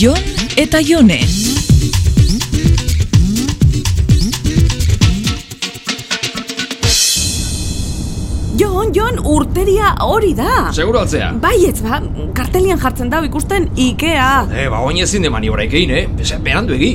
Jon eta Jone. Jon, Jon, urteria hori da. Seguratzea. Baietz ba, kartelian jartzen dau ikusten Ikea. Eh, ba, oin ezin de maniobraik egin, eh? Bese, berandu egi.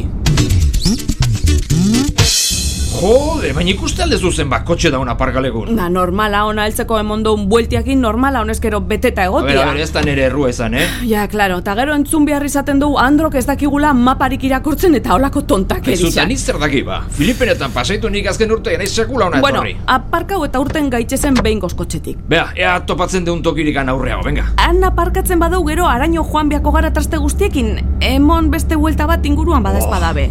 Jode, baina ikuste aldezu zen ba, kotxe daun aparkalekun. Ba, normala ona heltzeko emondon bueltiakin normala honezkero beteta A ber, egotia. a ber, ez da nere errua izan, eh? Ja, claro, eta gero entzun behar izaten dugu Androk ez dakigula maparik irakurtzen eta holako tontak Ezuta, nik zer daki, ba. Filipinetan pasaitu nik azken urtean, naiz sekula ona Bueno, etorri. aparkau eta urten gaitzezen behin goskotxetik. Bea, ea topatzen deun tokirikan aurreago, venga. Han aparkatzen badau gero araño joan biako gara traste guztiekin, emon beste huelta bat inguruan bada espadabe.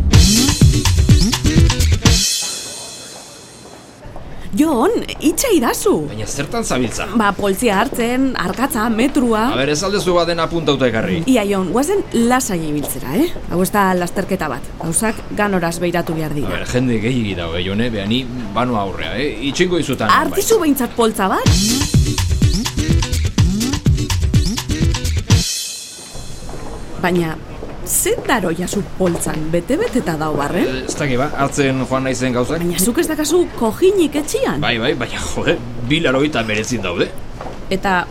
Jon, itxe idazu. Baina zertan zabiltza. Ba, poltzia hartzen, arkatza, metrua... A ber, ez aldezu baden apuntauta ekarri. Ia Jon, guazen lasai ibiltzera, eh? Hau ez da lasterketa bat. Gauzak ganoraz beiratu behar A dira. ber, jende gehiagi dago, eh, jone, bea, ni banoa aurrea, eh? Itxingo izutan. bai. Artizu behintzat poltza bat? Baina, ze daroia zu poltzan, bete-beteta dau barren? Eh, Ez daki, ba, hartzen joan naizen gauzak. Baina zuk ez dakazu kojinik etxian? Bai, bai, baina jode, bilaro eta berezin daude. Eta,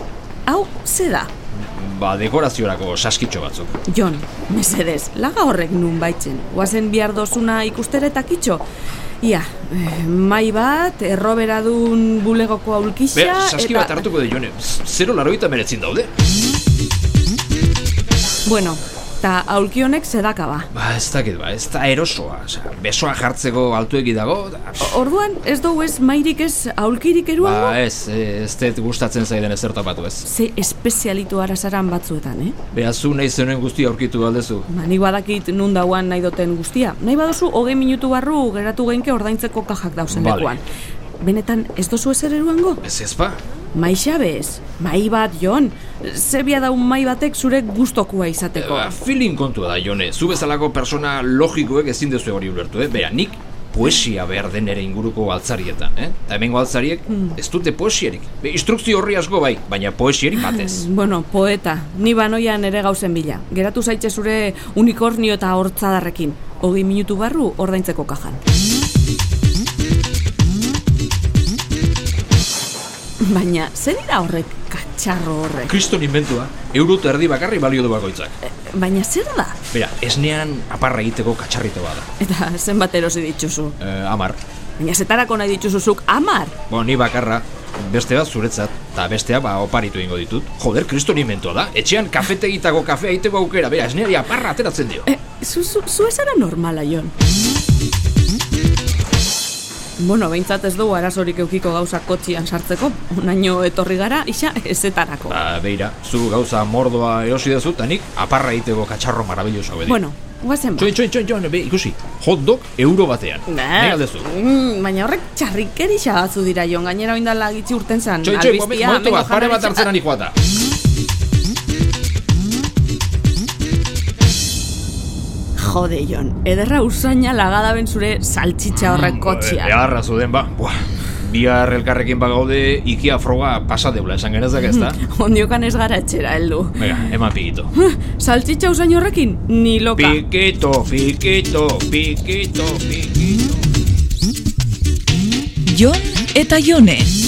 hau, ze da? Ba, dekoraziorako saskitxo batzuk. Jon, mesedez, laga horrek nun baitzen. Oazen bihar dozuna ikustera eta kitxo. Ia, eh, mai bat, erroberadun bulegoko aulkixa... Bea, saski bat hartuko de jone, Z- zero laro eta berezin daude. Bueno, eta aulki honek zedaka ba. Ba, ez dakit, ba, ez da erosoa. Osea, besoa jartzeko altuegi dago. da- Orduan, ez dugu ez mairik ez aulkirik eruango? Ba, ez, eh, ez dut gustatzen zaiden ezer tapatu ez. Ze espezialitu arazaran batzuetan, eh? Bea, zu nahi zenuen guztia aurkitu aldezu. Ba, nik badakit nun dauan nahi doten guztia. Nahi baduzu, hogei minutu barru geratu genke ordaintzeko kajak dauzen Bale. lekuan. Benetan, ez dozu ezer eruango? Ez ez ba? Maixa bez, mai bat jon, zebia daun mai batek zure gustokua izateko. Ba, feeling kontua da, jone. Zu bezalako persona logikoek ezin duzu hori ulertu, eh? Bea, nik poesia behar den ere inguruko altzarietan, eh? Eta hemengo altzariek ez dute poesierik. Be, instrukzio horri asko bai, baina poesierik batez. Bueno, poeta, ni banoian ere gauzen bila. Geratu zaitxe zure unikornio eta hortzadarrekin. Hogei minutu barru ordaintzeko kajan. Baina, zer dira horrek katxarro horrek? Kriston inventua, euro eta erdi bakarri balio du bakoitzak. Baina zer da? Bera, esnean aparra egiteko katxarrito bada. Eta zenbat erosi dituzu. E, amar. Baina zetarako nahi dituzuzuk amar. Bo, ni bakarra, beste bat zuretzat, eta bestea ba oparitu ingo ditut. Joder, kriston inventua da. Etxean kafetegitako kafea egiteko aukera, bera, esneari aparra ateratzen dio. E, zu, zu, zu ez ara normala, Jon. Bueno, behintzat ez dugu arazorik eukiko gauza kotxian sartzeko. Unaino etorri gara, isa ezetarako. Ba, beira, zu gauza mordoa erosi dezu, eta nik aparra egiteko katxarro marabilloso bedi. Bueno, guazen ba. Txoin, txoin, txoin, txoin, be, ikusi, hot dog euro batean. Nahi aldezu. mm, baina horrek txarrikeri batzu dira, Jon. Gainera oindala gitzi urten zan. Txoin, txoin, momen- albistia, momentu bat, hemengo pare bat janaritza- hartzen ari joata. Ah, Jode, Jon. Ederra usaina lagadaben zure saltxitxa horrek Eh, kotxia. Beharra zuden, ba, buah. Bihar elkarrekin bagaude, ikia froga pasadeula esan genezak ez da. Mm-hmm. Ondiokan ez gara etxera, heldu. Venga, eman pikito. Saltxitxa usain horrekin? Ni loka. Pikito, pikito, pikito, pikito. Jon eta Jone.